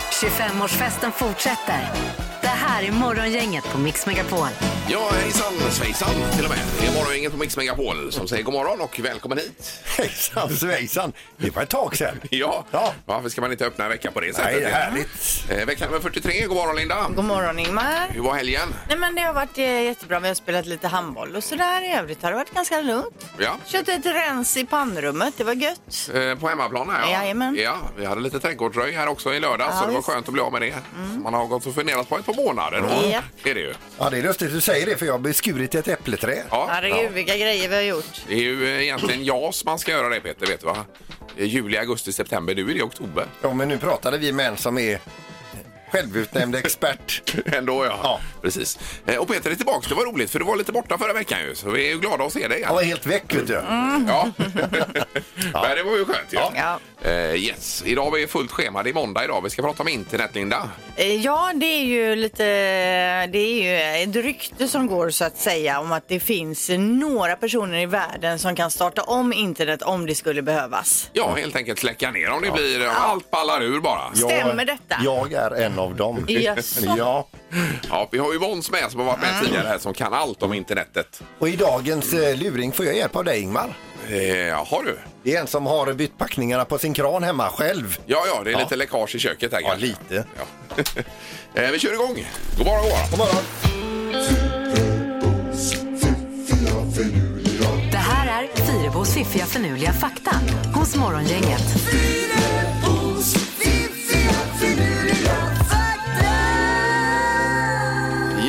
25-årsfesten fortsätter. Det här är Morgongänget på Mix Megapol. Ja, hejsan svejsan till och med. Det är Morgongänget på Mix Megapol som säger god morgon och välkommen hit. Hejsan svejsan! Det var ett tag sedan. Ja, Ja. varför ska man inte öppna en vecka på det sättet? Nej, det är härligt. Eh, Vecka nummer 43, god morgon Linda. God morgon Ingmar. Hur var helgen? Nej men det har varit eh, jättebra. Vi har spelat lite handboll och sådär. I övrigt har det varit ganska lugnt. Ja. Kört ett rens i pannrummet. Det var gött. Eh, På hemmaplan här ja. Jajamän. ja. Vi hade lite trädgårdsröj här också i lördag Ja, så det var visst. Mm. skönt att bli av med det. Man har gått och funderat på ett par månader. då. Japp. Är det ju. Ja, det är lustigt att du säger det för jag har beskurit ett äppleträd. Ja. Herregud vilka grejer vi har gjort. Det är ju eh, egentligen JAS man ska göra det Peter, vet du va? Eh, Juli, augusti, september. Nu är det oktober. Ja, men nu pratade vi med en som är självutnämnd expert. Ändå ja. Ja. Precis. Eh, Och Peter är tillbaka. Det var roligt för du var lite borta förra veckan ju. Så vi är ju glada att se dig igen. Han var helt väck vet du. Mm, Ja. Men det var ju skönt ju. Ja. Eh, yes, idag har vi fullt schema. Det är måndag idag. Vi ska prata om internet, Linda. Eh, Ja, det är ju lite... Det är ju ett rykte som går så att säga om att det finns några personer i världen som kan starta om internet om det skulle behövas. Ja, helt enkelt släcka ner om det blir... om Allt ballar ur bara. Ja. Jag- Stämmer detta? Jag är en av dem. Jaså? Ja. vi har ju Måns med som har varit med tidigare här som kan allt om internetet. Och i dagens eh, luring får jag hjälp av dig Ingmar. Eh, har du? Det är en som har bytt packningarna på sin kran hemma själv. Ja, ja, det är Ja. lite läckage i köket här Ja, kanske. lite. Ja. eh, vi kör igång. God morgon, god morgon. God morgon. Det här är Fyrebos fiffiga förnuliga fakta hos Morgongänget.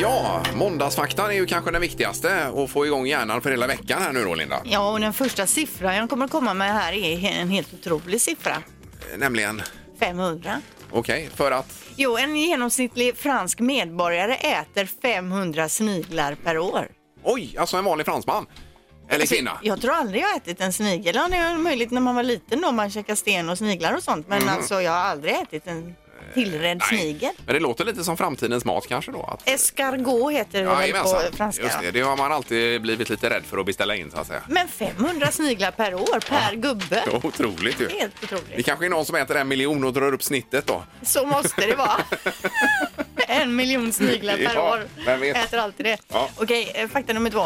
Ja, måndagsfaktan är ju kanske den viktigaste och få igång hjärnan för hela veckan här nu då, Linda. Ja, och den första siffran jag kommer att komma med här är en helt otrolig siffra. Eh, Nämligen, 500. okej, för att... Jo, en genomsnittlig fransk medborgare äter 500 sniglar per år. Oj, alltså en vanlig fransman. Eller kvinna. Alltså, Jag tror aldrig jag har ätit en snigel. Ja, det är möjligt när man var liten då man käkade sten och sniglar och sånt. Mhm. Men alltså jag har aldrig ätit Eh, en tillredd snigel. Men det låter lite som framtidens mat kanske då? Att... Escargot heter det väl Jajamensan. på franska. Just det, ja. det har man alltid blivit lite rädd för att beställa in så att säga. Men 500 sniglar per år, per gubbe. Otroligt ju. Helt Det otroligt. kanske är någon som äter en miljon och drar upp snittet då. Så måste det vara. en miljon sniglar per Ja, år. vem vet? Äter alltid det. Ja. Okej, eh, fakta nummer två.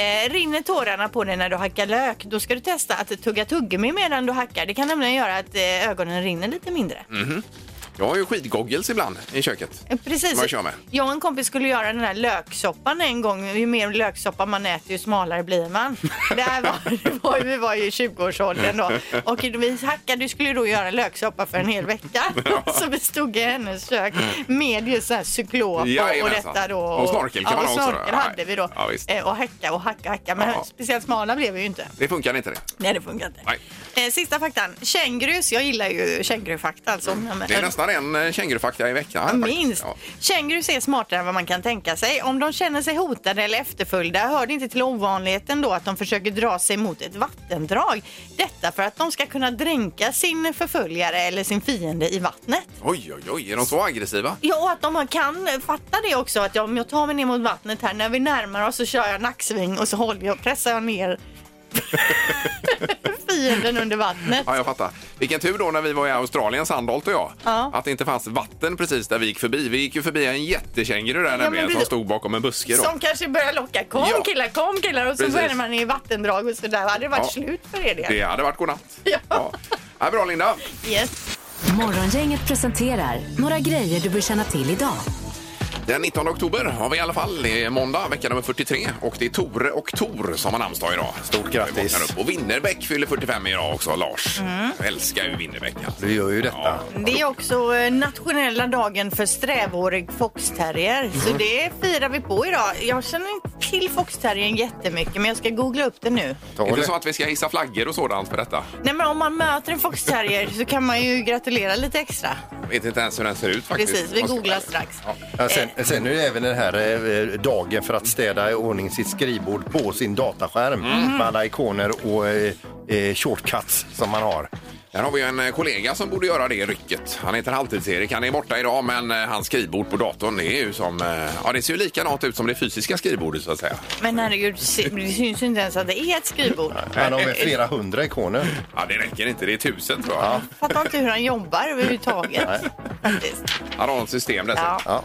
Eh, rinner tårarna på dig när du hackar lök, då ska du testa att tugga tuggummi medan du hackar. Det kan nämligen göra att eh, ögonen rinner lite mindre. Jag har ju skidgoggles ibland i köket. Eh, Precis. Man kör med. Jag och en kompis skulle göra den här löksoppan en gång. Ju mer löksoppa man äter, ju smalare blir man. Det här var, det var, ju- vi var ju i 20-årsåldern då. Och vi hackade, du skulle ju då göra löksoppa för en hel vecka. Så vi stod i hennes kök med just så här cyklop och, och Jajamensan. detta då. Och snorkel kan ja, man och också då. snorkel Nej. hade vi då. Ja, visst. Eh, och hacka och hacka och hacka. Men Ja. speciellt smala blev vi ju inte. Det funkar inte det. Nej, det funkar inte. Nej. Eh, sista faktan. Kängurus. Jag gillar ju kängurufakta alltså. Men- Det är nästan en eh, kängurufakta i veckan. här faktiskt. Minst. Ja. Kängurus är smartare än vad man kan tänka sig. Om de känner sig hotade eller efterföljda hör det inte till ovanligheten då att de försöker dra sig mot ett vattendrag. Detta för att de ska kunna dränka sin förföljare eller sin fiende i vattnet. Oj, oj, oj. Är de så aggressiva? Ja, och att de kan fatta det också att om jag tar mig ner mot vattnet här, när vi närmar oss så kör jag nacksving och så håller jag, pressar jag ner fienden under vattnet. Ja, jag fattar. Vilken tur då när vi var i Australien, Sandholt och jag, Ja. att det inte fanns vatten precis där vi gick förbi. Vi gick ju förbi en jättekänguru där nämligen som precis. stod bakom en buske. Då. Som kanske börjar locka. Kom Ja. killar, kom killar. Och så Precis. börjar man i vattendrag och så där. Hade det varit Ja. slut för er del? Det hade varit godnatt. Ja. Ja, bra, Linda. Yes. Morgongänget presenterar några grejer du bör känna till idag. Den 19 oktober har vi i alla fall. Det är måndag, vecka nummer 43. Och det är Tore och Tor som har namnsdag idag. Stort grattis. Upp. Och Winnerbäck fyller 45 idag också, Lars. Mm. Jag älskar ju Winnerbäck. Alltså. Du gör ju detta. Det är också eh, nationella dagen för strävårig foxterrier. Så Mhm. det firar vi på idag. Jag känner inte till foxterriern jättemycket men jag ska googla upp det nu. Ta Är det det. så att vi ska hissa flaggor och sådant för detta? Nej men om man möter en foxterrier så kan man ju gratulera lite extra. Jag vet inte ens hur den ser ut faktiskt. Precis, vi Om jag ska googlar vara ärlig. strax. Ja, sen, Eh. sen är det även den här eh, dagen för att städa i ordning sitt skrivbord på sin dataskärm Mm. Mm. med alla ikoner och eh, eh, shortcuts som man har. Där har vi ju en eh, kollega som borde göra det rycket. Han heter Halvtids-Erik. Han är borta idag, men eh, hans skrivbord på datorn det är ju som... eh, Ja, det ser ju likadant ut som det fysiska skrivbordet så att säga. Men herregud, se- det syns ju inte ens att det är ett skrivbord. Han Eh, har med flera hundra ikoner. Ja, det räcker inte. Det är tusen tror jag. Fattar inte hur han jobbar överhuvudtaget. Nej. faktiskt. Han har ett system dessutom. Ja. Ja.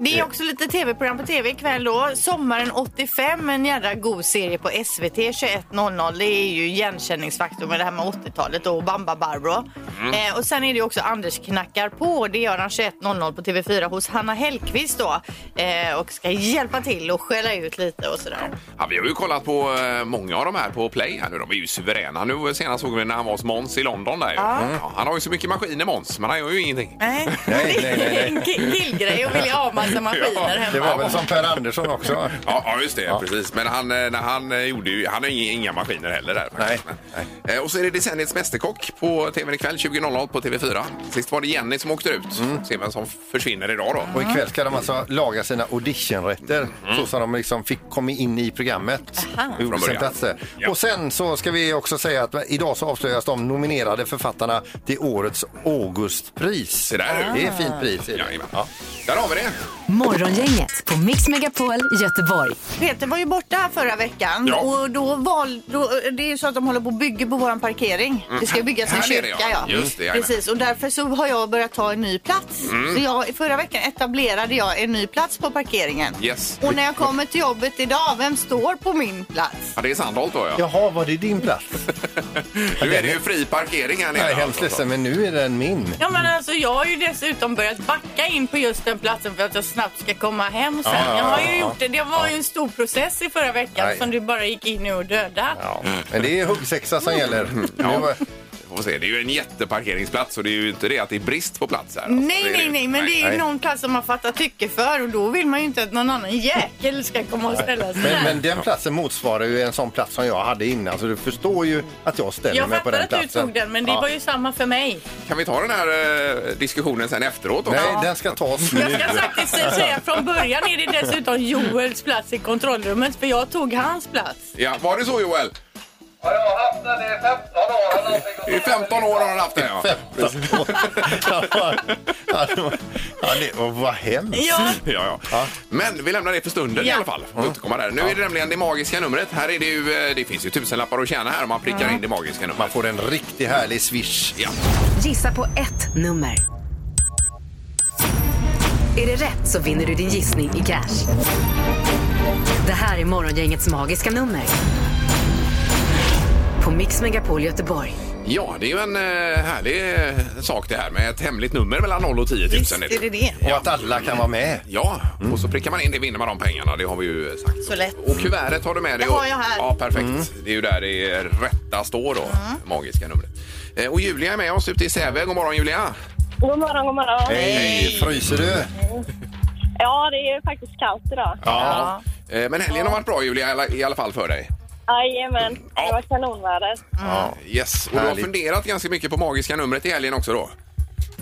Det är också lite tv-program på tv ikväll då. Sommaren 85, en jädra god serie på SVT 21.00. Det är ju igenkänningsfaktor med det här med 80-talet då, och Bamba Barbro. Mm. Eh, och sen är det ju också Anders knackar på. Det gör han 21.00 på TV4 hos Hanna Hellquist då. Eh, och ska hjälpa till och skälla ut lite och sådär. Ja, vi har ju kollat på eh, många av de här på Play här nu. De är ju suveräna. Nu senast såg vi när han var hos Måns i London där ju. ja, Han har ju så mycket maskiner Måns, men han gör ju ingenting. Nej, Nej, nej, nej, det nej. är en ki- killgrej att vilja ha massa maskiner Det hemma. var väl som Per Andersson också? Ja, ja, just det. Precis. Men han, eh, när han eh, gjorde ju, han har ju inga maskiner heller där. faktiskt. Nej, Men- Eh, Och så är det Decenniets Mästerkock på tvn ikväll 20.00 på TV4. Sist var det Jenny som åkte ut. Se vem som försvinner idag då. Och ikväll ska de alltså laga sina auditionrätter så som de liksom fick komma in i programmet. Och gjorde Mm. Från sin början. plats där. Ja. Och sen så ska vi också säga att idag så avslöjas de nominerade författarna till årets Augustpris. Se där, du. Det är ett fint pris. är det. Jajamän. Där har vi det. Morgongänget på Mix Megapol Göteborg. Peter var ju borta här förra veckan Ja. och då val, då, det är ju så att de håller på och bygger på våran parkering. Det ska ju byggas en Mm. Här nere, kyrka ja. ja. Just det, Mm. jajamän. Precis och därför så har jag börjat ta en ny plats. Så jag, förra veckan etablerade jag en ny plats på parkeringen. Yes. Och när jag kommer till jobbet idag, vem står på min plats? Ja, det är Sandholt då ja. Jaha, var det din plats? Nu är det ju fri parkering här nere. Jag är hemskt alltså. ledsen, men nu är den min. Ja, men alltså, jag har ju dessutom börjat backa in på just den platsen för att jag snabbt ska komma hem sen. Ah. Ja, ja, jag har ja, ju ja. gjort det. Det var ju en stor process i förra veckan Nej. som du bara gick in i och dödade. Ja. Men det är huggsexa som gäller. Nu var- Vi får se. Det är ju en jätteparkeringsplats och det är ju inte det att det är brist på plats här. alltså. Det Nej, är det nej, ju. nej, men det är nej. ju någon plats som man fattar tycke för och då vill man ju inte att någon annan jäkel ska komma och ställa sig Men, där. men den platsen motsvarar ju en sån plats som jag hade innan så du förstår ju att jag ställer Jag mig på fattar den att du platsen. tog den, men det Ja. var ju samma för mig. Kan vi ta den här eh, diskussionen sen efteråt också? Nej, den ska tas nu. Jag ska faktiskt säga från början är det dessutom Joels plats i kontrollrummet för jag tog hans plats. Ja, var det så Joel? Ja, jag har haft den i I 15 15 år eller någonting. år har han haft den ja. 15 år. Ja, det- ja, det- och Vad hemskt. Ja, Ja, ja. Men vi lämnar det för stunden i Ja. alla fall. Får återkomma där. Nu är det nämligen det magiska numret. Här är det ju, eh, det finns ju tusenlappar att tjäna här om man prickar Mm. in det magiska Man numret. får en riktigt härlig swish. Ja. Gissa på ett nummer. Är det rätt så vinner du din gissning i cash. Det här är Morgongängets magiska nummer. På Mix Megapol Göteborg. ja, det är ju en eh, härlig eh, sak det här med ett hemligt nummer mellan 0 och 10 000. Visst är det det. Och att alla kan vara med. Ja, och så prickar man in det vinner man de pengarna. Det har vi ju eh, sagt. Så lätt. Och kuvertet har du med dig. Det har och- jag här. Mm. Ja, perfekt. Det är ju där det rätta står då, magiska numret. Eh, Och Julia är med oss ute i Säve. God morgon Julia! God morgon, god morgon. Hej, fryser du? Ja, det är faktiskt kallt idag. Ja. Eh, Men helgen har varit bra Julia i alla- i alla fall för dig. Jajamän, Ja. det var kanonväder. Ja. Yes, och du har Härligt. funderat ganska mycket på magiska numret i helgen också då?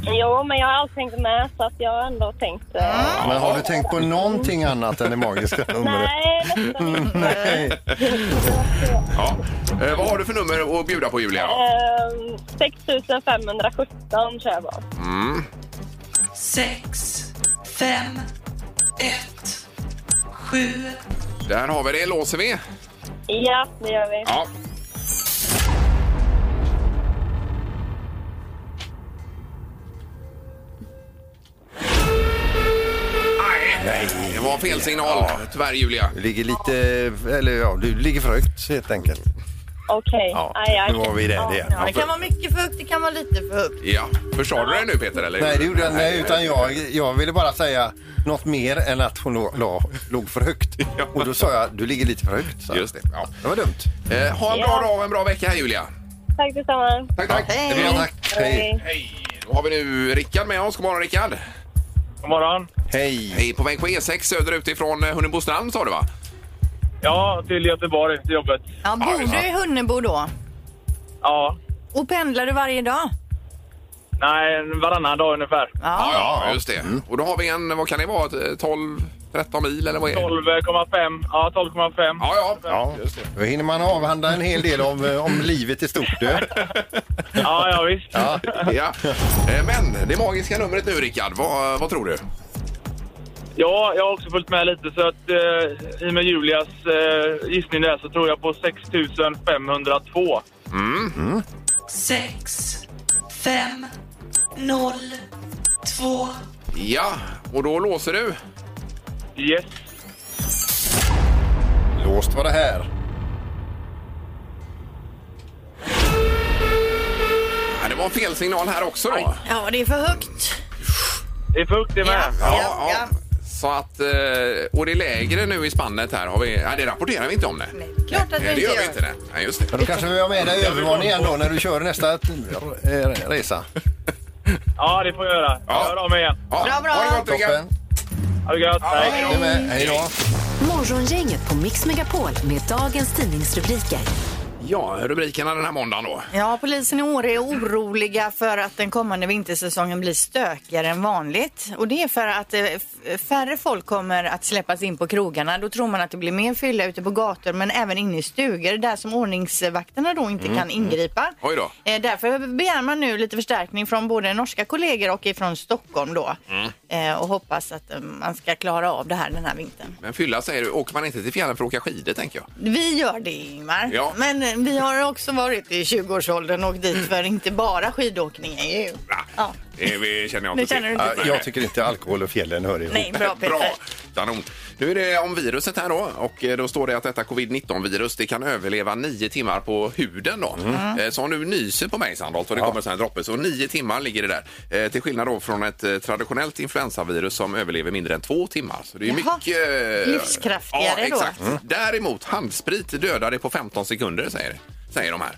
Jo, men jag har aldrig tänkt med så att jag har ändå tänkt... eh, Men har du tänkt på någonting annat än det magiska numret? Nej, nästan inte. Nej. Ja. Eh, vad har du för nummer att bjuda på Julia? Ehm, 6517 kör jag på. sex, fem, ett, sju, Där har vi det, låser vi. Ja, det gör vi. Ja. Nej, det var fel signal. Tyvärr Julia. Du ligger lite, eller ja, du ligger för högt helt enkelt. Okej. Ja, Aj, aj. nu var vi där igen. Ja, det kan vara mycket för högt, det kan vara lite för högt. Ja, försade du dig nu Peter eller? Nej, det gjorde jag nej, utan jag, jag ville bara säga något mer än att hon låg, låg för högt. Ja. Och då sa jag, du ligger lite för högt. sa jag. Just det. Ja. Det var dumt. Eh, ha en bra dag och en bra vecka här Julia. Tack detsamma. Tack, tack. Hej. Det blir jag, tack. Hej. Hej. Då har vi nu Rickard med oss. God morgon Rickard. God morgon. Hej. Hej, på väg på E6 söderut ifrån eh, Hunnebostrand sa du va? Ja, till Göteborg, till jobbet. Ja, bor ja. du i Hunnebo då? Ja. Och pendlar du varje dag? Nej, varannan dag ungefär. Ja, just det. Mm. Och då har vi en, vad kan det vara, ett, eh, 12, 13 mil eller vad är det? 12,5. Ja, 12,5. Ja, ja. Ja, Just det. då hinner man avhandla en hel del om, eh, om livet i stort. Du. Ja, ja visst. Ja. Ja. Eh, Men det magiska numret nu Rickard, vad, vad tror du? Ja, jag har också följt med lite så att eh, i och med Julias eh, gissning där så tror jag på 6502. sex, fem, noll, två, Ja, och då låser du. Yes. Låst var det här. Ja, det var fel signal här också då. Ja, det är för högt. Det är fukt det med. Ja, Ja, ja. Så att, eh, och det är lägre nu i spannet här. Har vi, ja, det rapporterar vi inte om. Det. Klart att vi Nej, Eh, det inte gör vi gör. inte. Nej. Nej, just det. Men då kanske vi har med dig övervåningen då när du kör nästa eh, resa. Ja, det får jag göra. Ja. Jag hör av mig igen. Ja, Bra, bra. Ha det gott, Rickard. Toppen. Ha det gött. Hej. Det är med. Hej då. Morgongänget på Mix Megapol med dagens tidningsrubriker. Ja, rubrikerna den här måndagen då. Ja, polisen i Åre är oroliga för att den kommande vintersäsongen blir stökigare än vanligt. Och det är för att eh, f- färre folk kommer att släppas in på krogarna. Då tror man att det blir mer fylla ute på gator men även inne i stugor där som ordningsvakterna då inte kan ingripa. Mm, Oj då. Eh, därför begär man nu lite förstärkning från både norska kollegor och ifrån Stockholm då. Mm. Eh, och hoppas att eh, man ska klara av det här den här vintern. Men fylla säger du, åker man inte till fjällen för att åka skidor tänker jag. Vi gör det Ingmar. Ja. Men eh, vi har också varit i 20-årsåldern och dit för inte bara skidåkningen ju. Ja. Det vi- känner jag Det inte känner du till. inte Ja, Jag tycker inte alkohol och fjällen hör ihop. Nej, bra Peter. Bra, kanon. Nu är det om viruset här då och eh, då står det att detta covid-19-virus det kan överleva nio timmar på huden då. Mm. Eh, Så om du nyser på mig Sandholt och det kommer en sån här droppe så nio timmar ligger det där. Eh, Till skillnad då från ett eh, traditionellt influensavirus som överlever mindre än två timmar. Så det är ju Jaha. mycket... eh, Livskraftigare ja, då. Mm. exakt. Däremot handsprit dödar det på 15 sekunder säger, säger de här.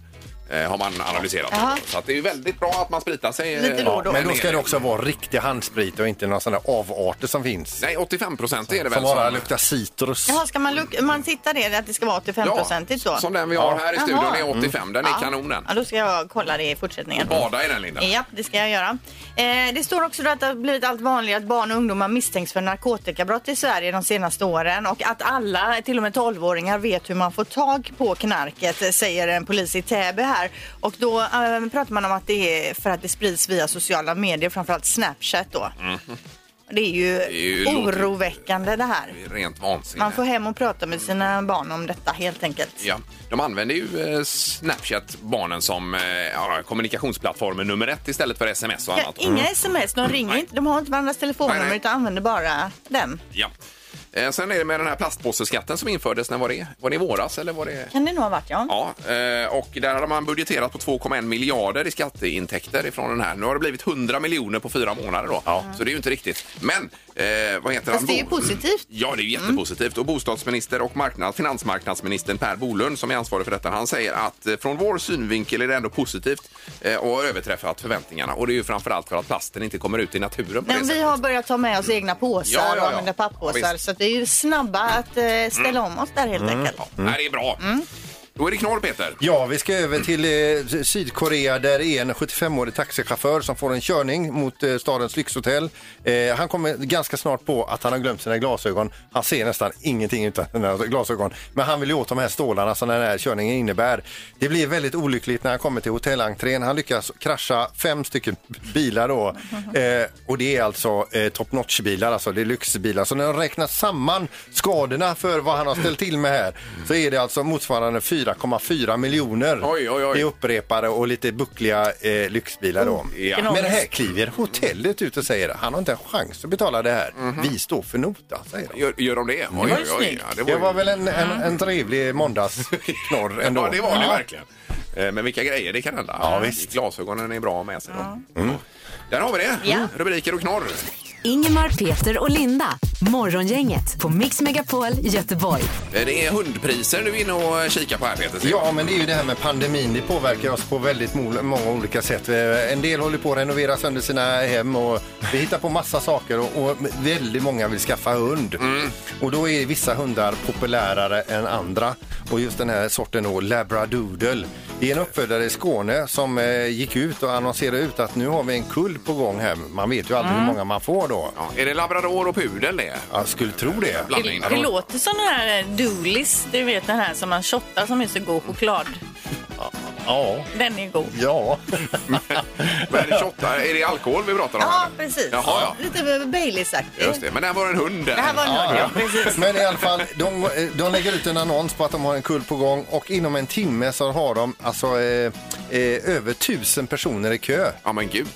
Eh, Har man analyserat. Jaha. Så att det är ju väldigt bra att man spritar sig. eh, Lite då och då. ner. Men då ska det också vara riktig handsprit och inte några sådana avarter som finns. Nej, 85 procent är det väl Som bara som- luktar citrus. Jaha, ska man, luk- man titta det, att det ska vara 85-procentigt då? Ja, som den vi har här i studion Jaha. Mm. är 85. Den är kanonen. Ja, då ska jag kolla det i fortsättningen. Bada i den, Linda. Ja, det ska jag göra. Eh, det står också då att det har blivit allt vanligare att barn och ungdomar misstänks för narkotikabrott i Sverige de senaste åren och att alla, till och med 12-åringar, vet hur man får tag på knarket, eh, säger en polis i Täby här. Och då eh, pratar man om att det är för att det sprids via sociala medier, framförallt Snapchat då. Det är ju, Mhm. är ju- oroväckande det här. Det är Rent vansinne. Man får hem och prata med sina barn om detta helt enkelt. Ja, de använder ju eh, Snapchat, barnen, som eh, ja, kommunikationsplattformen nummer ett istället för sms och Ja, annat. Mm. inga sms, de ringer inte, de har inte varandras telefonnummer Nej, nej. utan använder bara den. Ja. Eh, Sen är det med den här plastpåseskatten som infördes. När var det? Var det i våras eller var det? Kan det nog ha varit ja. Ja, eh, och där hade man budgeterat på 2,1 miljarder i skatteintäkter ifrån den här. Nu har det blivit 100 miljoner på fyra månader då. Så det är ju inte riktigt. Men, eh, vad heter han? Fast det är ju Bo- positivt. Ja, det är ju jättepositivt. Och bostadsminister och marknad, finansmarknadsministern Per Bolund som är ansvarig för detta, han säger att eh, från vår synvinkel är det ändå positivt eh, och har överträffat förväntningarna. Och det är ju framförallt för att plasten inte kommer ut i naturen på det Men vi sättet. har börjat ta med oss egna påsar Ja, ja, ja. och använda Ja, papppåsar. visst. Mm. så att vi är ju snabba att eh, ställa om oss där helt enkelt. Ja, nej, det är bra. Mm. Då är det knorr, Peter. Ja, vi ska över till eh, Sy- Sydkorea där det är en 75-årig taxichaufför som får en körning mot eh, stadens lyxhotell. Eh, han kommer ganska snart på att han har glömt sina glasögon. Han ser nästan ingenting utan sina glasögon. Men han vill ju åt de här stålarna som den här körningen innebär. Det blir väldigt olyckligt när han kommer till hotellentrén. Han lyckas krascha fem stycken bilar då. Eh, och det är alltså eh, top notch-bilar, alltså det är lyxbilar. Så när de räknar samman skadorna för vad han har ställt till med här så är det alltså motsvarande 4,4 miljoner. Oj, oj, oj. Det är upprepade och lite buckliga eh, lyxbilar då. ja. Men här kliver hotellet ut och säger han har inte en chans att betala det här. Vi står för notan, säger de. Gör, gör de det? Mhm. Oj, var ju oj, oj. snyggt. Ja, det var, Det ju- var väl en, en, en trevlig måndagsknorr ändå. Ja, det var det verkligen. Eh, Men vilka grejer det kan hända. Ja, visst. Glasögonen är bra med sig. Då. Mm. Där har vi det. Ja. Rubriker och knorr. Ingemar, Peter och Linda. Morgongänget på Mix Megapol Göteborg. Eh, Det är hundpriser du är inne och kikar på här, Peter. ser jag. Ja, men det är ju det här med pandemin. Det påverkar oss på väldigt mo- många olika sätt. Eh, En del håller på att renovera sönder sina hem och vi hittar på massa saker och, och väldigt många vill skaffa hund. Och då är vissa hundar populärare än andra och just den här sorten då, labradoodle. Det är en uppfödare i Skåne som eh, gick ut och annonserade ut att nu har vi en kull på gång här. Man vet ju aldrig hur många man får då. Ja, är det labrador och pudel det? Jag skulle tro det. Blandning. Det låter som den här Doolis, du vet den här som man shottar som är så god choklad. Ja. Den är god. Ja. Vad är det 28? Är det alkohol vi pratar om? Ja, eller? precis. Jaha, Lite baileys ja. Just det. Men det här var en hund. Det här var en Ja. ja, precis. Men i alla fall, de, de lägger ut en annons på att de har en kull på gång och inom en timme så har de alltså eh, eh, över tusen personer i kö Ja, men gud.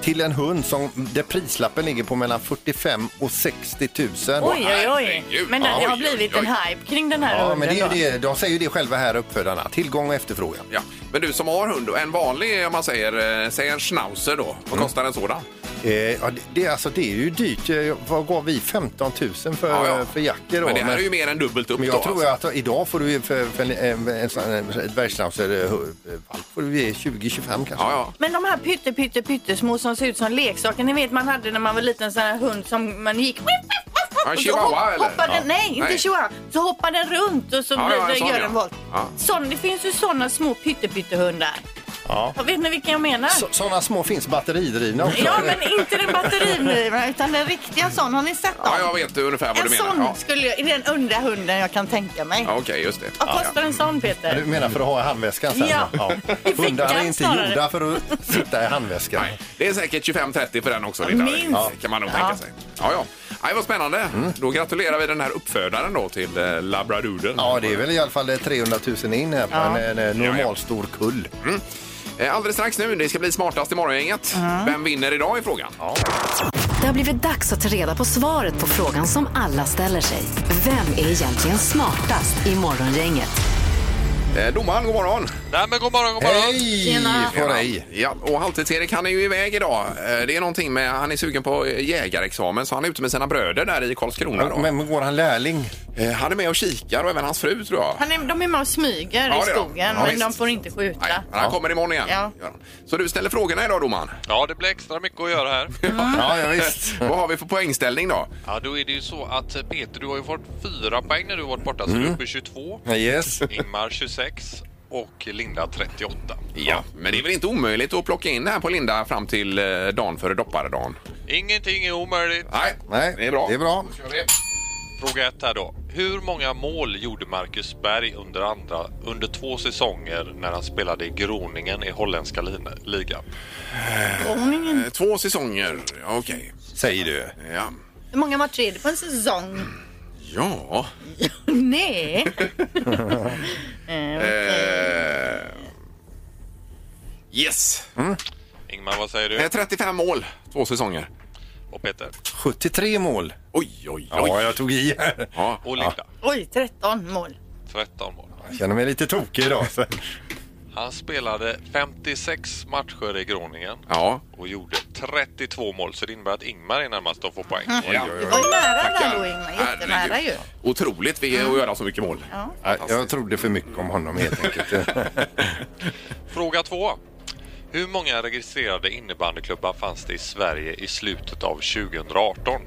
till en hund som, där prislappen ligger på mellan 45 och 60 000. Oj, oj, oj. herregud. Men det Oj, har oj, blivit oj. en hype kring den här Ja, hunden men det är då. ju det, de säger ju det själva här uppfödarna, tillgång och efterfrågan. Ja. Men du som har hund, och en vanlig, om man säger, eh, säg en schnauzer då. Mm. Vad kostar en sådan? Eh, ja, det, det, alltså, det är ju dyrt, Eh, vad gav vi? 15 000 för, Ja, ja. för jackor då. Men det här är ju mer än dubbelt upp Men då. jag tror alltså. att idag får du ju för, för en, en, en, sån- en dvärgschnauzer-valp eh, får du ge 20-25 kanske. Ja, ja. Men de här pytte, pytte, pyttesmå som ser ut som leksaker. Ni vet man hade när man var liten sån här hund som man gick... Ja, och så chihuahua, hopp- eller? hoppade, Ja. Nej, inte Nej. chihuahua. Så hoppar den runt och så Ja, blir ja, en det, sån, gör ja. en volt. Ja. Sån, det finns ju såna små pytte, pyttehundar. Ja. Vet ni vilka jag menar? Sådana små finns batteridrivna också. Ja, men inte den batteridrivna utan den riktiga sån. Har ni sett dem? ja, jag vet ungefär vad en du sån menar. Ja. skulle jag, är den undra hunden jag kan tänka mig. Ja, Okej, just det. Vad Ja, kostar ja. en sån Ja, Peter? Du menar för att ha i handväskan sen? Ja. I fickan Hundar är inte snarare. gjorda för att sitta i handväskan. Nej, det är säkert 25-30 för den också. Linda. minst. Ja, kan man nog tänka sig. Ja, ja. Nej, vad spännande. Mm. Då gratulerar vi den här uppfödaren då till eh, labradoodle. Ja, det är väl i alla fall 300 000 in här på en, en normalstor kull. Eh, Alldeles strax nu. Det ska bli smartast i morgongänget. Vem vinner idag i frågan? Det har blivit dags att ta reda på svaret på frågan som alla ställer sig. Vem är egentligen smartast i morgongänget? Eh, Domaren, god morgon! Nej men god morgon, god morgon. Hej på dig! Ja, och Halvtids-Erik han är ju iväg idag. Eh, Det är någonting med, han är sugen på eh, jägarexamen så han är ute med sina bröder där i Karlskrona då. Men men går han lärling? Mm. Eh, Han är med och kikar och även hans fru tror jag. Han är, de är med och smyger Ja, i det är de. skogen Ja, men visst. de får inte skjuta. Nej, men han kommer imorgon igen. Ja. gör han. Så du ställer frågorna idag domaren. Ja, det blir extra mycket att göra här. Ja, ja visst. Vad har vi för poängställning då? Ja, då är det ju så att eh, Peter, du har ju fått fyra poäng när du har varit borta, så du Mm. är uppe i 22. Yes. Ingmar 26 och Linda 38. Ja, men det är väl inte omöjligt att plocka in det här på Linda fram till eh, dagen före dopparedagen? Ingenting är omöjligt. Nej, Nej, det är bra. Det är bra. Då kör vi. Fråga ett här då. Hur många mål gjorde Marcus Berg under, andra, under två säsonger när han spelade i Groningen i holländska lin- ligan? Eh, Två säsonger, Ja, okej. Säger du. Ja. Hur många matcher är det på en säsong? Ja. Nej. Eh, yes. Ingmar, vad säger Eh, du? 35 mål, två säsonger. Och Peter? 73 mål. Oj, oj, oj. Ja, jag tog i här. Ja. Och Linda? Oj, 13 mål. 13 mål. Jag känner mig lite tokig idag. så. Han spelade 56 matcher i Groningen. Ja. och gjorde 32 mål så det innebär att Ingmar är närmast att få poäng. Ja. Det var ju nära där då Ingmar, jättenära ju. Herregud. Otroligt vi är att göra så mycket mål. Ja, Jag trodde för mycket om honom helt enkelt. Eh, Fråga 2. Hur många registrerade innebandyklubbar fanns det i Sverige i slutet av 2018?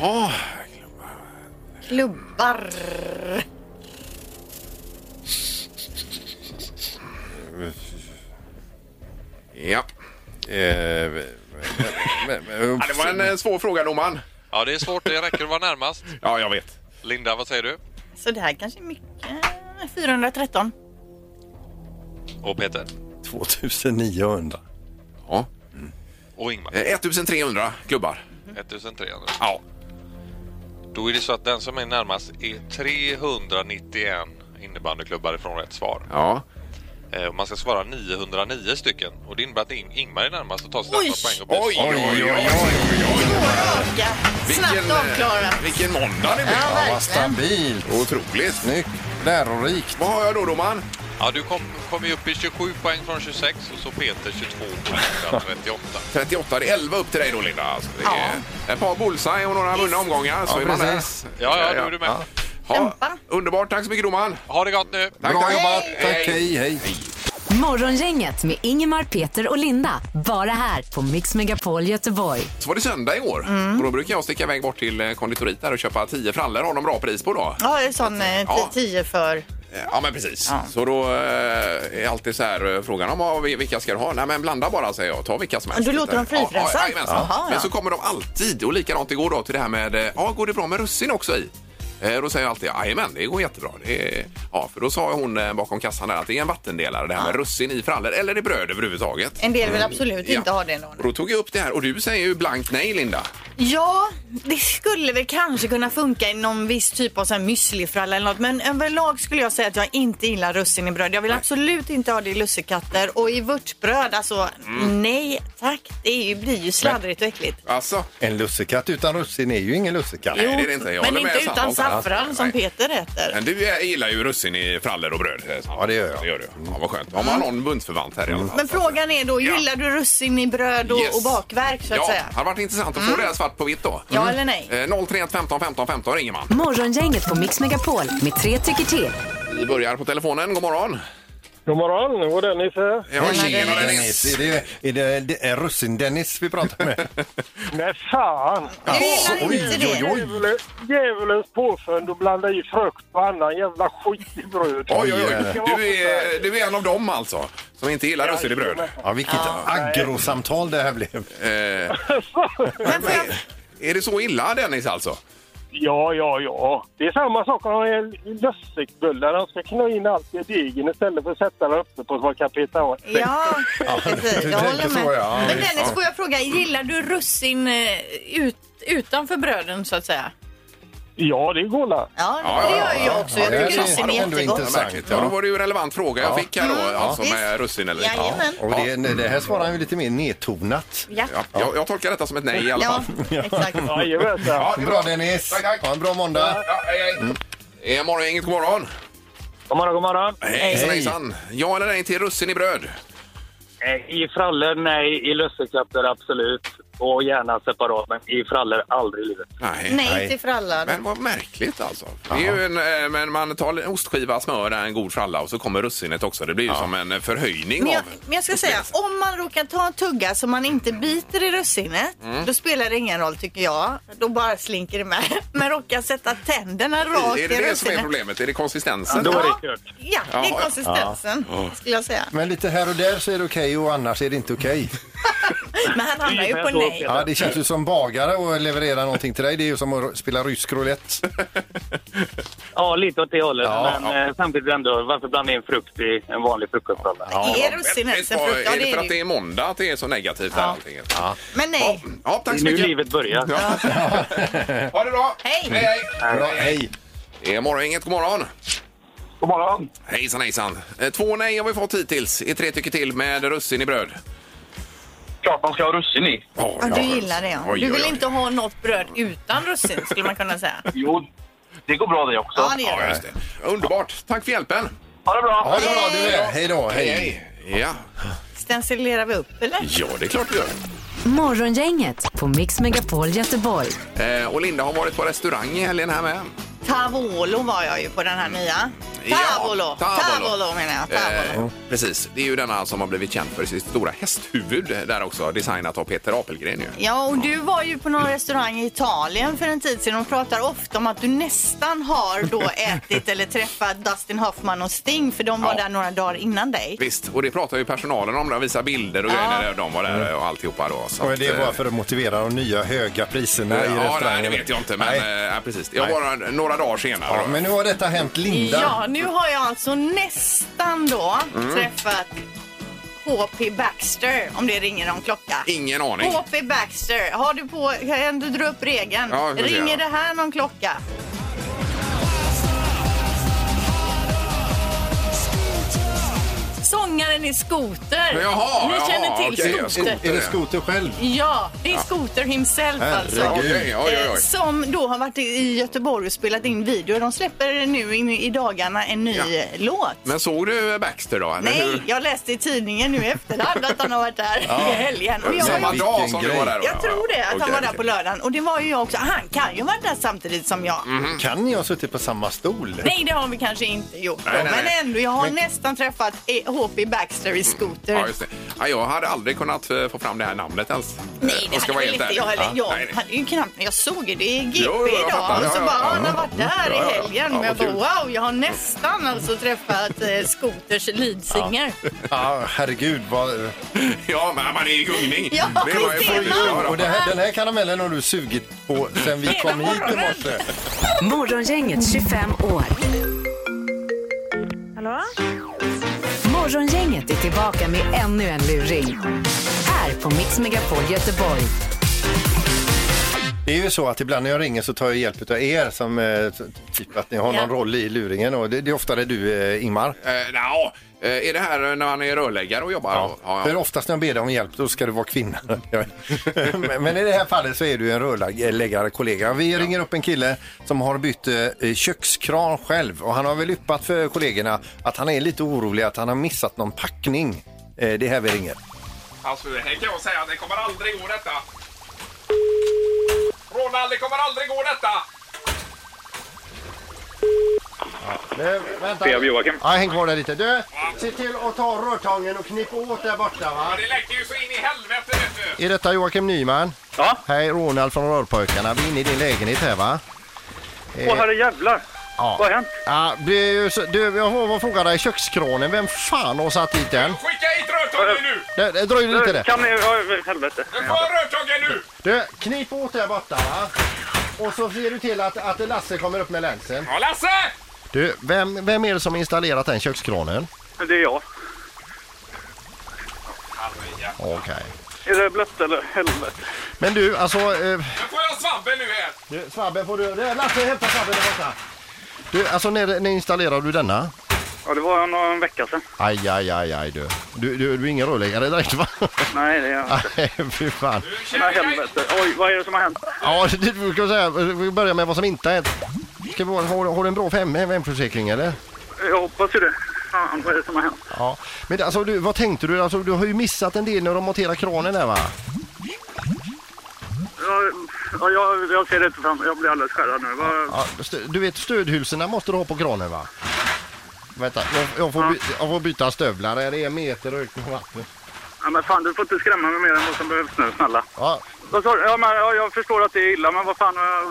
Ja. Klubbar. ja. Eh, men- men- men- Ja, Det var en eh, svår fråga domaren. Ja, det är svårt. Det räcker att vara närmast. Ja, jag vet. Linda, vad säger du? Så det här kanske är mycket. 413. Och Peter? 2900. Ja. Och Ingmar? Eh, 1300 klubbar. Mm. 1300. Ja. Då är det så att den som är närmast är 391 innebandyklubbar ifrån rätt svar. Ja. Eh, och man ska svara 909 stycken och det innebär att Ing- Ingmar är närmast och tar sina Oj! poäng och blir Oj, oj, oj, oj. Raka. Snabbt avklarat. eh, vilken måndag det blev. Ja, vad stabilt. Otroligt. Snyggt. Lärorikt. Vad har jag då domaren? Ja, du kom, kom ju upp i 27 poäng från 26 och så Peter 22 poäng alltså från 38. 38, det är 11 upp till dig då Linda. Alltså, det är Ett par bullseye och några vunna omgångar så Ja, är man där. precis. Ja, ja, då är du med. Ja, Kämpa. underbart, tack så mycket domaren. Ha det gott nu! Tack, Bra tack. jobbat. Tack, hej, hej. Morgongänget med Ingemar, Peter och Linda. Bara här på Mix Megapol Göteborg. Så var det söndag i år Mm. och då brukar jag sticka iväg bort till eh, konditorit där och köpa 10 frallor. Har de bra pris på då? Ja, en sån eh, Ja. 10 för. Eh, Ja, men precis. Så då eh, är alltid så här eh, frågan om vad vi- vilka ska du ha? Nej, men blanda bara säger jag. Ta vilka som helst. Du låter dem frifräsa? Ja, ja, jajamensan. Jaha, ja. Men så kommer de alltid och likadant igår då till det här med eh, ja, går det bra med russin också i? Eh, Då säger jag alltid jajamän, det går jättebra. Det är... ja, för då sa hon eh, bakom kassan där att det är en vattendelare det här med russin i frallor eller i bröd överhuvudtaget. En del vill absolut Ja. inte ha det någon. Och då tog jag upp det här och du säger ju blankt nej Linda. Ja, det skulle väl kanske kunna funka i någon viss typ av sån här müslifralla eller något. Men överlag skulle jag säga att jag inte gillar russin i bröd. Jag vill absolut inte ha det i lussekatter och i vörtbröd. Alltså, Mm. nej tack. Det är ju, blir ju sladdrigt och äckligt. Alltså, En lussekatt utan russin är ju ingen lussekatt. nej det är det inte. Jag men håller inte med utan Sandholt. saffran Som Nej. Peter äter. Men du eh, gillar ju russin i frallor och bröd. eh, Sandholt. Ja, det gör jag. Mm. Det gör du. Ja, vad skönt. Då har man någon bundsförvant här i alla fall. Men frågan är då, Ja. gillar du russin i bröd och, Yes. och bakverk så att ja, säga? Mm. det hade varit intressant att få det här svart på vitt då. Ja eller nej? Eh, 031 15 15 15 ringer man. Morgongänget på Mix Megapol med tre tycker till. Vi börjar på telefonen. God morgon. God morgon, och Dennis här. Ja, tjena Dennis, Dennis. är det, är det, det är russin-Dennis vi pratar med? Nej, fan! Du gillar inte det? Djävulen- Djävulens påfund och blanda i frukt och annan jävla skit i bröd. Oj, oj, oj. Du är, du är en av dem alltså, som inte gillar russin i bröd. Ja, vilket aggrosamtal det här blev. Eh, Men får jag, är det så illa Dennis alltså? Ja, ja, ja. Det är samma sak om lösvikbullar. De ska knö in allt i degen istället för att sätta den uppe på så man kan peta åt. sig. Ja, precis. du Jag tänker håller så, med. ja. Men Visst, Dennis, ja. får jag fråga, gillar du russin eh, ut, utanför bröden så att säga? Ja, det går la. Ja, Ja, ja, det gör ja, jag också. Jag ja, tycker det är russin är ändå jättegott. intressant. Märkligt. Ja, då var det ju en relevant fråga jag Ja. fick här då, alltså Mm. visst. med russin eller inte. Jajamän. Och det, det här svarar han ju lite mer nedtonat. Ja, Ja, jag, jag tolkar detta som ett nej i alla ja fall. exakt. Jajamensan. Ja, det är Bra Dennis! Tack, tack. Ha en bra måndag! Ja, hej, hej. Eh, morgon, inget god morgon. God morgon, god morgon. Hejsan, hejsan. Ja eller nej till russin i bröd? Eh, I frallor, nej. I lössekapper, absolut. Och gärna separat, men i frallor, aldrig i livet. Nej. Nej till frallan. Men vad märkligt alltså. Det är ju en, eh, men man tar en ostskiva, smör, en god fralla och så kommer russinet också. Det blir ju som en eh, förhöjning Men jag, av... men jag ska säga, om man råkar ta en tugga så man inte biter i russinet, Mm. då spelar det ingen roll tycker jag. Då bara slinker det med. Men råkar sätta tänderna rakt i Är det det som är russinet. problemet? Är det konsistensen? Då är det Ja. kört. Ja, det Ja, är ja. konsistensen skulle jag säga. Men lite här och där så är det okej och annars är det inte okej. Men han hamnar ju på Ungefär så, nej. Peter. Ja, det känns ju som bagare och leverera någonting till dig. Det är ju som att spela rysk roulette. Ja, lite åt det hållet. Ja, men eh, samtidigt ändå, varför blanda in frukt i en vanlig frukostfralla? Är russinets en Vad- frukt? Ja, Är det det för att är det det ju. är måndag att det är så negativt här allting? Ja. Men nej. ja, Det tack är så nu mycket. livet börjar. Ja. ha det bra! Hej. hej! Bra, hej! Det är morgon, inget god morgon! God morgon. Hejsan hejsan! Eh, Två nej har vi fått hittills. I tre tycker till med russin i bröd. Klart man ska ha russin i. Oh, Ja, du gillar det ja. Oj, Du oj, vill oj. inte ha något bröd utan russin skulle man kunna säga. Jo, det går bra det också. Ja, det gör Ja, det. just det. Underbart! Tack för hjälpen! Ha det bra. Ha det bra du är! Hej då! Hej! Ja. Stencilerar vi upp eller? ja, det är klart vi gör. Morgongänget på Mix Megapol Göteborg. Eh, och Linda har varit på restaurang i helgen här med. Tavolo var jag ju på den här nya. Ja, Tavolo! Tavolo. Tavolo menar jag. Tavolo. Eh, precis, det är ju denna som har blivit känd för sitt stora hästhuvud där också, designat av Peter Apelgren ju. Ja, och du var ju på någon restaurang i Italien för en tid sedan och pratar ofta om att du nästan har då ätit eller träffat Dustin Hoffman och Sting för de var Ja. där några dagar innan dig. Visst, och det pratar ju personalen om, de visar bilder och Ja. grejer när de var där och alltihopa då. Så Mm. Och att, det är eh, bara för att motivera de nya höga priserna i Ja, restaurangen. nej, det vet jag inte, men eh, Nej. nej. precis. Jag var där några dagar senare. Ja, då. men nu har detta hänt Linda. Ja, nu har jag alltså nästan då träffat HP Baxter, om det ringer någon klocka. Ingen aning. HP Baxter, har du på, kan du dra upp regeln? Ja, vi får se, ja. ringer det här någon klocka? Sångaren i Skoter. Jaha, Ni känner jaha, till okej, jag Skoter. skoter. Är det skoter själv? Ja, det är Skoter himself alltså. Ja, Okej, oj, oj, Eh, oj. Som då har varit i- i Göteborg och spelat in videor. De släpper nu in, i dagarna en ny Ja. eh, låt. Men såg du Baxter då? Eller Nej, hur? jag läste i tidningen nu i efterhand att han har varit där i helgen. Och jag var Samma ju- dag Vilken som du grej. var där? då? Jag tror det, att han Okej, var där okej. på lördagen. Och det var ju jag också. Han kan ju ha varit där samtidigt som jag. Mhm. Mm. Kan jag ha suttit på samma stol? Nej, det har vi kanske inte gjort. Nej, då. nej, men nej. Mm. ändå, jag har nästan träffat eh, HP Baxter i Scooter. Ja, just det. Ja, jag hade aldrig kunnat eh, få fram det här namnet ens. Nej, det hade väl inte jag heller. Jag nej, nej. hade ju knappt... Jag såg ju det i GP Jo, jo, jag idag fattar. och så Ja, ja, bara, ja. Mm. han har varit Ja, där ja, i ja. helgen. Ja, Men jag vad bara, kul. wow, jag har nästan alltså träffat eh, Scooters leadsinger. Ja, herregud. Vad... Ja, men man är ju gungning. Ja, visst är man. Ja, då. Och det här, den här karamellen har du sugit på sen vi Hela kom hit i morgonen. morse. Morgongänget 25 år. Hallå? Morgongänget är tillbaka med ännu en luring. Här på Mix Megapol Göteborg. Det är ju så att ibland när jag ringer så tar jag hjälp av er som eh, t- typ att ni har någon Ja. roll i luringen och det, det är oftare du eh, Ingmar. Eh, nja, eh, är det här eh, när man är rörläggare och jobbar? Ja. ja, För oftast när jag ber dig om hjälp då ska du vara kvinna. Mm. Men men i det här fallet så är du en rörläggare kollega. Vi ringer upp en kille som har bytt eh, kökskran själv och han har väl yppat för kollegorna att han är lite orolig att han har missat någon packning. Eh, Det är här vi ringer. Alltså, här kan jag säga, det kommer aldrig gå detta. Ronald, det kommer aldrig gå detta! Nu, vänta. Joakim. Ja, häng kvar där lite. Du, Se till att ta rörtången och knippa åt där borta va. Det läcker ju så in i helvete, vet du! är detta Joakim Nyman? Ja. Hej, Ronald från Rörpojkarna. Vi är inne i din lägenhet här va? Åh herrejävlar. Ja. Vad har hänt? Ja, det är ju så, du, jag har en fråga dig. Kökskranen, vem fan har satt dit den? Skicka hit rörtången nu! Det, det, dröj lite där. Kan ni... ja, Helvete. Du får rörtången nu! Du, knip åt där borta va. Och så ser du till att, att Lasse kommer upp med länsen. Ja, Lasse! Du, vem, vem är det som har installerat den kökskranen? Det är jag. Okej. Är det blött eller helvete? Men du, alltså... Eh, Nu får jag svabben nu här! Du, Svabben får du... du Lasse hämta Svabben där borta. du, alltså när, när installerade du denna? Ja, det var någon vecka sedan. Aj, aj, aj, aj du. Du, du, du är ingen rörläggare direkt va? Nej, det är jag inte. Nej, fy fan. Nej, helvete. Oj, vad är det som har hänt? Ja, det, vi, ska säga, vi börjar med vad som inte har hänt. Ska vi, ha- har, har du en bra fem, hemförsäkring eller? Jag hoppas ju det. Fan, vad är det som har hänt? Ja. Men alltså, du, vad tänkte du? Alltså, du har ju missat en del när de monterar kranen där va? Jag, ja, jag, jag ser det inte fram Jag blir alldeles skärrad nu. Vad- Ja, stö- du vet stödhylsorna måste du ha på kranen va? Vänta, jag, jag, får, by, jag får byta stövlar. Det är en meter högt med vatten. Ja, men fan, du får inte skrämma mig mer än vad som behövs nu, snälla. Ja, Vad sa du? Ja, men, ja, jag förstår att det är illa, men vad fan... Jag...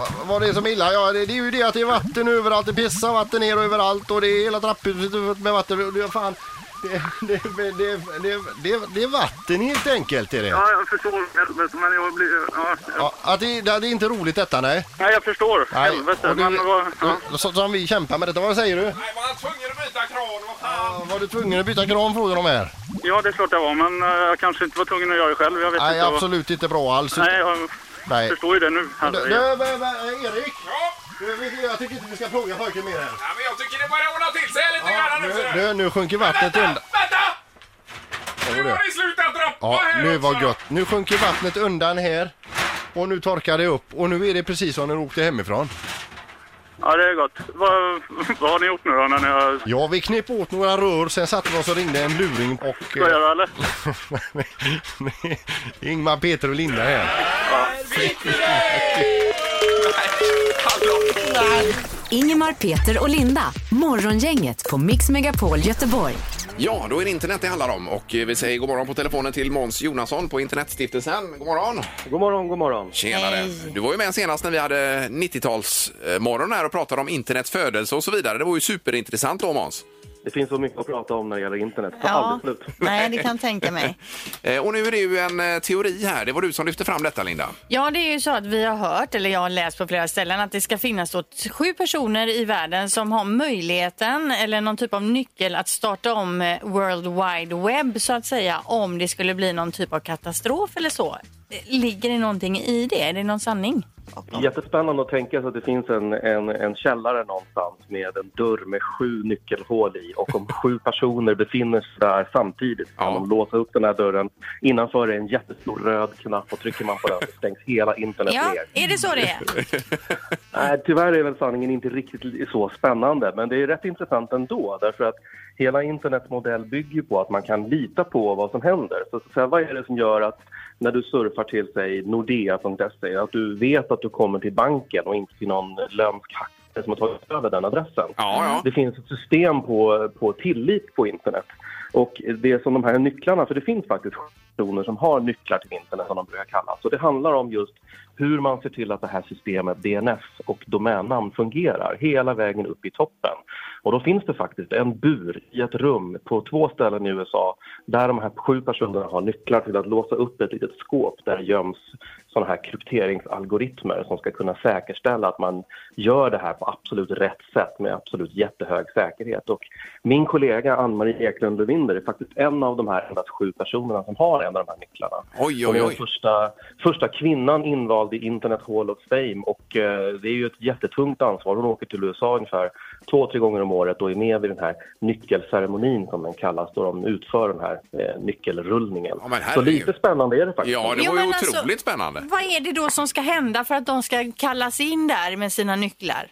Va- Vad det är som är illa? Ja, det, det är ju det att det är vatten överallt. Det pissar vatten ner överallt och det är hela trapphuset med vatten. Och Det är fan... Det, det, det, det, det, det, det är vatten helt enkelt är det. Ja, jag förstår. Helvete, men jag blir... Ja, Ja, att det, det är inte roligt detta nej. Nej, jag förstår. nej. Helvete. och du- men vad... Ja. och så, som vi kämpar med detta. Vad säger du? Nej, var han tvungen att byta kran? Vad fan? Ja, Var du tvungen att byta kran frågar de här? ja, det är klart jag var, men eh, jag kanske inte var tvungen att göra det själv. Jag vet Nej, inte. vad- absolut inte bra alls. Nej, jag Nej. förstår ju det nu. Du, Herregud. du, vä- vä- Erik, Ja, Du, vi- jag tycker inte vi ska plåga pojken mer här. nej, men jag tycker det börjar ordna till sig lite grann nu. ser nu, du. du, nu sjunker vattnet Vänta! undan. Vänta! Nu du. har det slutat droppa Ja, här nu också. var gött. Nu sjunker vattnet undan här. Och nu torkar det upp. Och nu är det precis som när du åkte hemifrån. Ja, det är gott. Vad, vad har ni gjort nu då, när ni har... Ja, vi knep åt några rör, sen satte vi oss och ringde en luring och... eh, Ska jag göra, eller? Ingmar, Peter och Linda här. Ingemar, Peter och Linda. Morgongänget på Mix Megapol Göteborg. Ja, då är det internet det handlar om. Och eh, vi säger god morgon på telefonen till Måns Jonasson på Internetstiftelsen. God morgon! God morgon, god morgon. Tjenare! Du var ju med senast när vi hade 90-talsmorgon här och pratade om internets födelse och så vidare. Det var ju superintressant då Måns. Det finns så mycket att prata om när det gäller internet. Ta Ja. aldrig slut. Nej, det kan tänka mig. Eh, Och nu är det ju en eh, teori här. Det var du som lyfte fram detta Linda. Ja, det är ju så att vi har hört, eller jag har läst på flera ställen, att det ska finnas då t- sju personer i världen som har möjligheten eller någon typ av nyckel att starta om eh, World Wide Web så att säga, om det skulle bli någon typ av katastrof eller så. Ligger det någonting i det? Är det någon sanning? Jättespännande att tänka sig att det finns en, en, en källare någonstans med en dörr med sju nyckelhål i och om sju personer befinner sig där samtidigt kan Ja. de låsa upp den här dörren. Innanför är en jättestor röd knapp och trycker man på den så stängs hela internet Ja, ner. är det så det är? Nej, tyvärr är väl sanningen inte riktigt li- så spännande, men det är rätt intressant ändå därför att hela internetmodell bygger ju på att man kan lita på vad som händer. Så, så, så här, vad är det som gör att när du surfar till sig nordea.se att du vet att du kommer till banken och inte till någon lömsk hackare som har tagit över den adressen? Ja, ja. Det finns ett system på, på tillit på internet. Och det som de här nycklarna, för det finns faktiskt personer som har nycklar till internet som de brukar kallas. Så det handlar om just hur man ser till att det här systemet DNS och domännamn fungerar hela vägen upp i toppen. Och då finns det faktiskt en bur i ett rum på två ställen i USA där de här sju personerna har nycklar till att låsa upp ett litet skåp där göms sådana här krypteringsalgoritmer som ska kunna säkerställa att man gör det här på absolut rätt sätt med absolut jättehög säkerhet. Och min kollega Ann-Marie Eklund Lövinder är faktiskt en av de här endast sju personerna som har en av de här nycklarna. Oj, Hon oj, är den oj. Första, första kvinnan invald i Internet Hall of Fame och eh, det är ju ett jättetungt ansvar. Hon åker till USA ungefär två, tre gånger om året och är med vid den här nyckelceremonin som den kallas då de utför den här eh, nyckelrullningen. Ja, men Så herregud. lite spännande är det faktiskt. Ja, det Jo, var ju men alltså- otroligt spännande. Vad är det då som ska hända för att de ska kallas in där med sina nycklar?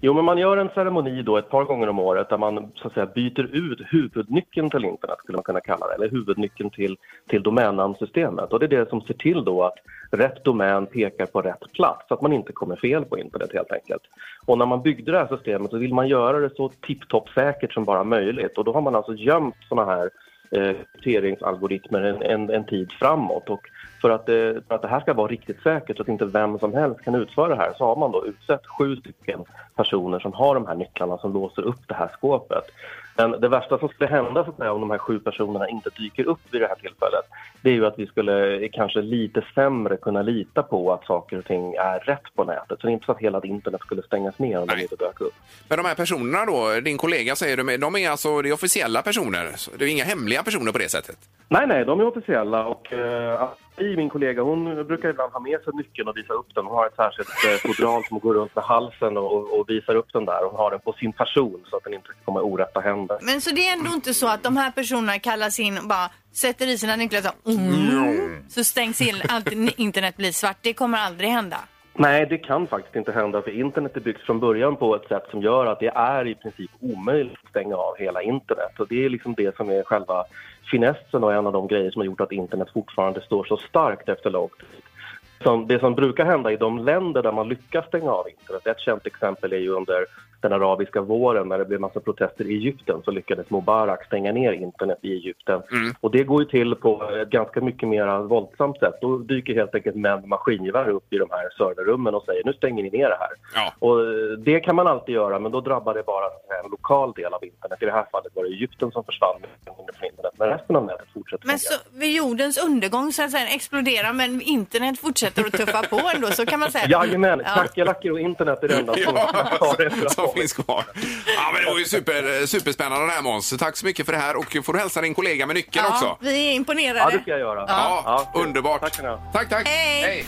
Jo, men man gör en ceremoni då ett par gånger om året där man så att säga, byter ut huvudnyckeln till internet, skulle man kunna kalla det, eller huvudnyckeln till, till domännamnsystemet. Och det är det som ser till då att rätt domän pekar på rätt plats, så att man inte kommer fel på internet helt enkelt. Och när man byggde det här systemet så vill man göra det så tipptopp säkert som bara möjligt och då har man alltså gömt sådana här eh, krypteringsalgoritmer en, en, en tid framåt. Och för, att, eh, för att det här ska vara riktigt säkert, så att inte vem som helst kan utföra det här, så har man då utsett sju stycken personer som har de här nycklarna som låser upp det här skåpet. Men det värsta som skulle hända så att säga, om de här sju personerna inte dyker upp vid det här tillfället, det är ju att vi skulle eh, kanske lite sämre kunna lita på att saker och ting är rätt på nätet. Så det är inte så att hela internet skulle stängas ner om de inte dök upp. Men de här personerna då, din kollega säger du, de är alltså det är officiella personer? Så Det är inga hemliga personer på det sättet? Nej, nej, de är officiella och eh, Ann-Marie, min kollega, hon brukar ibland ha med sig nyckeln och visa upp den. Hon har ett särskilt eh, fodral som går runt med halsen och, och, och visar upp den där. Hon har den på sin person så att den inte kommer i orätta händer. Men så det är ändå inte så att de här personerna kallas in och bara sätter i sina nycklar så, mm, så stängs in, allt internet blir svart. Det kommer aldrig hända. Nej, det kan faktiskt inte hända för internet är byggt från början på ett sätt som gör att det är i princip omöjligt att stänga av hela internet. Och det är liksom det som är själva finessen och en av de grejer som har gjort att internet fortfarande står så starkt efter lång tid. Som, det som brukar hända i de länder där man lyckas stänga av internet, ett känt exempel är ju under den arabiska våren när det blev massa protester i Egypten så lyckades Mubarak stänga ner internet i Egypten. Och det går ju till på ett ganska mycket mer våldsamt sätt. Då dyker helt enkelt män med maskingevär upp i de här serverrummen och säger nu stänger ni ner det här. Ja. Och eh, det kan man alltid göra, men då drabbar det bara en lokal del av internet. I det här fallet var det Egypten som försvann från internet, men resten av nätet fortsätter Men fungera. så vid jordens undergång så att säga exploderar men internet fortsätter att tuffa på ändå så kan man säga. Jajamän, Ja. kackerlackor och internet är det enda som har det för att som finns kvar. Ja, men det var ju super, superspännande det här Måns. Tack så mycket för det här och får du hälsa din kollega med nyckeln också. Ja, vi är imponerade. Ja, det ska jag göra. Ja, kul. underbart. Tack ska ni ha. Tack, tack. Hej.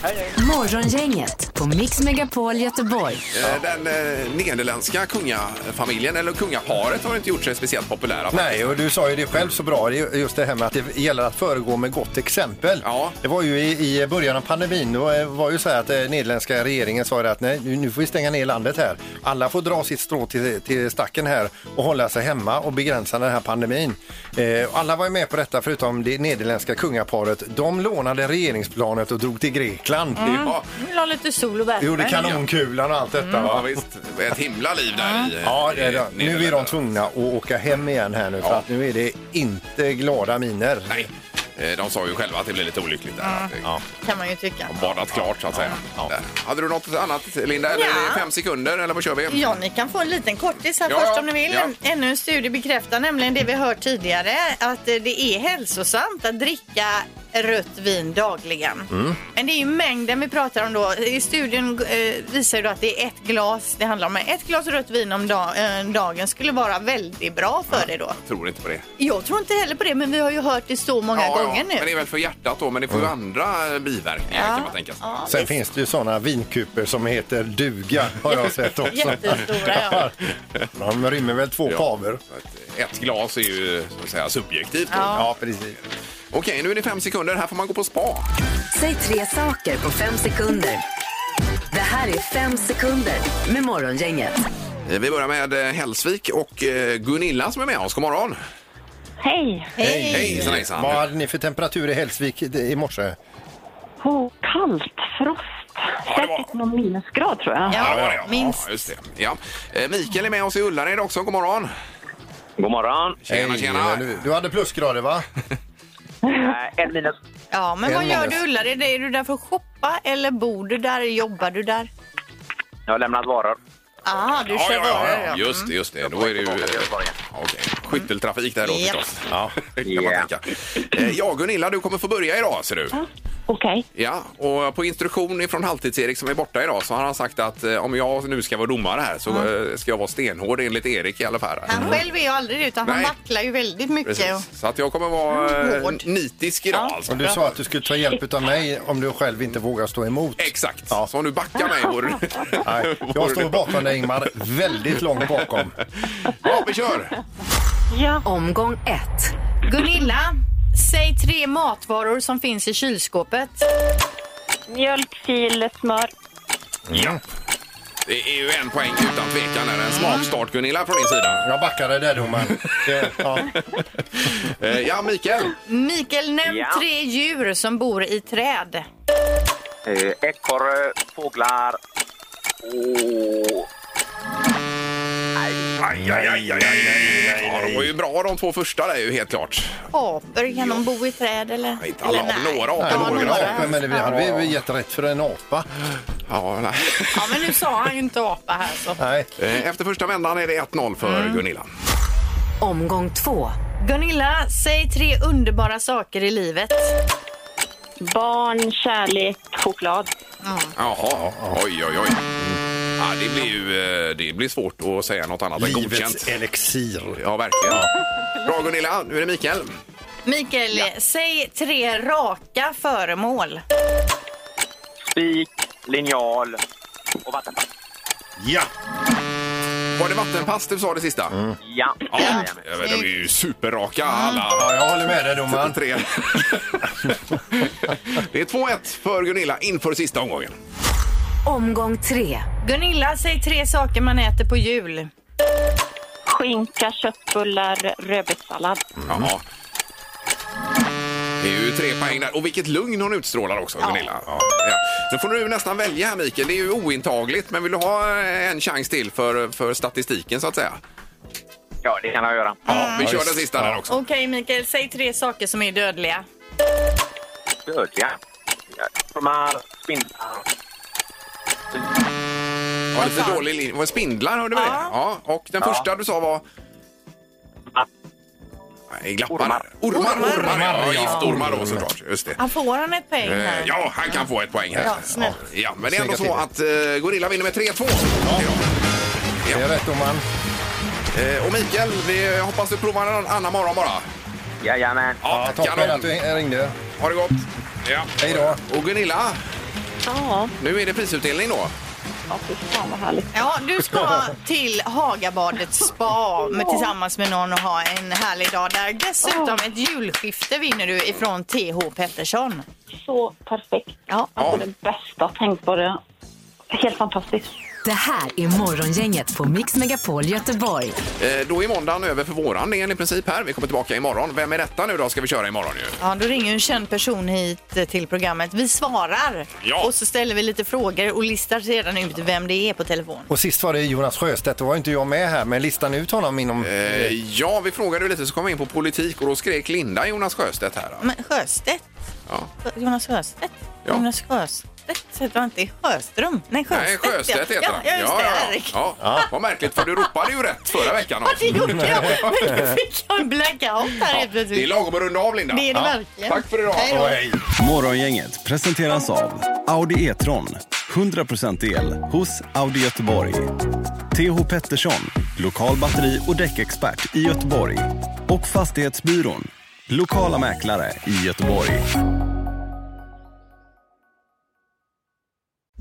Morgongänget på Mix Megapol Göteborg. Eh, Den eh, nederländska kungafamiljen, eller kungaparet, har inte gjort sig speciellt populära. Nej, och du sa ju det själv så bra, det är just det här med att det gäller att föregå med gott exempel. Ja. Det var ju i, i början av pandemin, då eh, var ju så här att eh, nederländska regeringen sa det att nej, nu nu får vi stänga ner landet här. Alla får dra sitt strå till, till stacken här och hålla sig hemma och begränsa den här pandemin. Eh, och alla var ju med på detta förutom det nederländska kungaparet. De lånade regeringsplanet och drog till Grekland. Mm. Ja, Jag vill ha lite sol och värme. Gjorde kanonkulan och allt detta. va? Mm. ja, visst. Ett himla liv där i eh, Ja, det är i det. nu är de Nederländerna. tvungna att åka hem igen här nu för Ja. att nu är det inte glada miner. Nej, eh, de sa ju själva att det blev lite olyckligt där. Att, eh, Kan man ju tycka. De badat klart så att säga. Där. Hade du något annat Linda? Eller Ja. är det fem sekunder eller vad kör vi? Ja, ni kan få en liten kortis här Ja, först ja, om ni vill. ja. Ännu en studie bekräftar nämligen det vi hört tidigare att eh, det är hälsosamt att dricka rött vin dagligen. Mm. Men det är ju mängden vi pratar om då. I studien eh, visar ju då att det är ett glas det handlar om. Men Ett glas rött vin om da- eh, dagen skulle vara väldigt bra för dig då. Tror inte på det. Jag tror inte heller på det, men vi har ju hört det så många gånger nu. Men det är väl för hjärtat då, men det får ju andra eh, biverkningar kan man tänka sig. Ja, Sen finns det ju sådana vinkuper som heter duga har jag sett också. Jättestora, ja. De rymmer väl två Ja. paver. Så att eh, Ett glas är ju så att säga, subjektivt. då. Ja, precis. Okej, nu är det fem sekunder. Här får man gå på spa. Säg tre saker på fem sekunder. Det här är fem sekunder med Morgongänget. Eh, Vi börjar med eh, Hälsvik och eh, Gunilla som är med oss. God morgon! Hej! Hej! Hejsan, hejsan! Vad hade ni för temperatur i Hälsvik i morse? Åh, kallt, frost. det var- Säkert någon minusgrad tror jag. Ja, det var det, Ja, minst. Ja, just det. Ja. Eh, Mikael är med oss i Ullared också. God morgon! God morgon. Tjena, Hej, tjena! Du, du hade plusgrader va? Eh, en, minus, Ja, men En vad gör minus. du Ullared? Är du där för att shoppa eller bor du där? Jobbar du där? Jag har lämnat varor. Ah, du Ja, kör ja, ja, varor. ja. ja. Just det, just det. Då är det ju... eh, Okej, skytteltrafik där då Japp. förstås. Ja, det kan man tänka. Eh, Ja, Gunilla, du kommer få börja idag ser du. Okej. Ja, och på instruktion från Halvtids-Erik som är borta idag så har han sagt att eh, om jag nu ska vara domare här så eh, ska jag vara stenhård enligt Erik i alla fall. Han själv är ju aldrig det, utan Mm. Nej. han vacklar ju väldigt mycket. Precis. Så att jag kommer vara eh, Hård. nitisk idag alltså. Och du sa att du skulle ta hjälp av mig om du själv inte vågar stå emot. Exakt, så om du backar mig vore Nej, jag står bakom dig Ingmar, väldigt långt bakom. Ja, vi kör! Omgång ett. Gunilla, säg tre matvaror som finns i kylskåpet. Mjölk, fil, smör. Ja. Det är ju en poäng utan tvekan. här. En smakstart Gunilla från din sida. Jag backade där domaren. Det- Ja. Eh, Ja, Mikael. Mikael, nämn tre djur som bor i träd. Ekorre, fåglar och... Aj, aj, aj, aj, aj, aj. Ja, de var ju bra de två första där ju helt klart. Apor, kan de bo i träd eller? Nej, Inte alla, eller nej? några Nej, apor det låg var ju en där. apa, men det hade vi gett rätt för en apa. Ja, nej. Ja, men nu sa han ju inte apa här så. Nej. Eh, Efter första vändan är det 1-0 för Gunilla. Omgång två. Gunilla, säg tre underbara saker i livet. Barn, kärlek, choklad. Jaha, oj, oj, oj. Ja, det blir ju eh, det blir svårt att säga något annat än godkänt. Livets elixir. Ja, verkligen. Bra Gunilla, nu är det Mikael. Mikael, säg tre raka föremål. Spik, linjal och vattenpass. Ja! Var det vattenpass du sa det sista? Ja. Mm. Ja, Mm. de är ju superraka alla. Ja, jag håller med dig domaren. Tre. Det är 2-1 för Gunilla inför sista omgången. Omgång tre. Gunilla, säg tre saker man äter på jul. Skinka, köttbullar, rödbetssallad. Ja. Det är ju tre poäng där. Och vilket lugn hon utstrålar också, Gunilla. Ja. Ja. Nu får du nästan välja här, Mikael. Det är ju ointagligt. Men vill du ha eh, en chans till för, för statistiken, så att säga? ja, det kan jag göra. Ja, vi Ja, kör visst. den sista Ja. där också. Okej Mikael, säg tre saker som är dödliga. Dödliga. Ormar, spindlar. Det var lite dålig linje. Det var spindlar, hörde vi det? Ja. Och den första du sa var? Nej, glappar. Ormar. Ormar, ormar, Ormar, ja. ja. Giftormar då såklart. Just det. Han får han ett poäng Eh, här? Ja, han kan få ett poäng här. Ja, snällt. Ja, men det är ändå så Snygga att eh, Gorilla vinner med 3-2. Det är rätt domaren. Eh, och Mikael, vi hoppas du provar en annan morgon bara. Jajamän. Ja, Toppen att du ringde. Ha det gott. Ja. Hej då. Och Gunilla, Ja, nu är det prisutdelning då. ja fy fan vad härligt. Ja, du ska till Hagabadets spa med, tillsammans med någon och ha en härlig dag där. Dessutom ett julskifte vinner du ifrån TH Pettersson. Så perfekt. Ja. Alltså det bästa tänkbara. Helt fantastiskt. Det här är Morgongänget på Mix Megapol Göteborg. Eh, då är måndagen över för våran del i princip här. Vi kommer tillbaka imorgon. Vem är detta nu då ska vi köra imorgon ju? Ja, då ringer en känd person hit eh, till programmet. Vi svarar Ja. och så ställer vi lite frågor och listar sedan ut vem det är på telefon. Och sist var det Jonas Sjöstedt, då var inte jag med här, men listan ut honom inom... Eh, ja, vi frågade ju lite så kom vi in på politik och då skrek Linda Jonas Sjöstedt här. då. Men Sjöstedt? Ja. Jonas Sjöstedt? Ja. Jonas Sjöstedt heter han inte. Sjöström? Nej, Sjöstedt. Nej, Sjöstedt ja. heter han. Ja, ja, just det. ja, Herregud. ja. ja. Vad märkligt, för du ropade ju rätt förra veckan Ja, också. det gjorde jag. Men nu fick jag en blackout här helt Det är plötsligt. lagom att runda av, Linda. Det är det verkligen. Tack för idag. Hej då. Morgongänget presenteras av Audi E-tron. 100% el hos Audi Göteborg. TH Pettersson, lokal batteri och däckexpert i Göteborg. Och Fastighetsbyrån, lokala mäklare i Göteborg.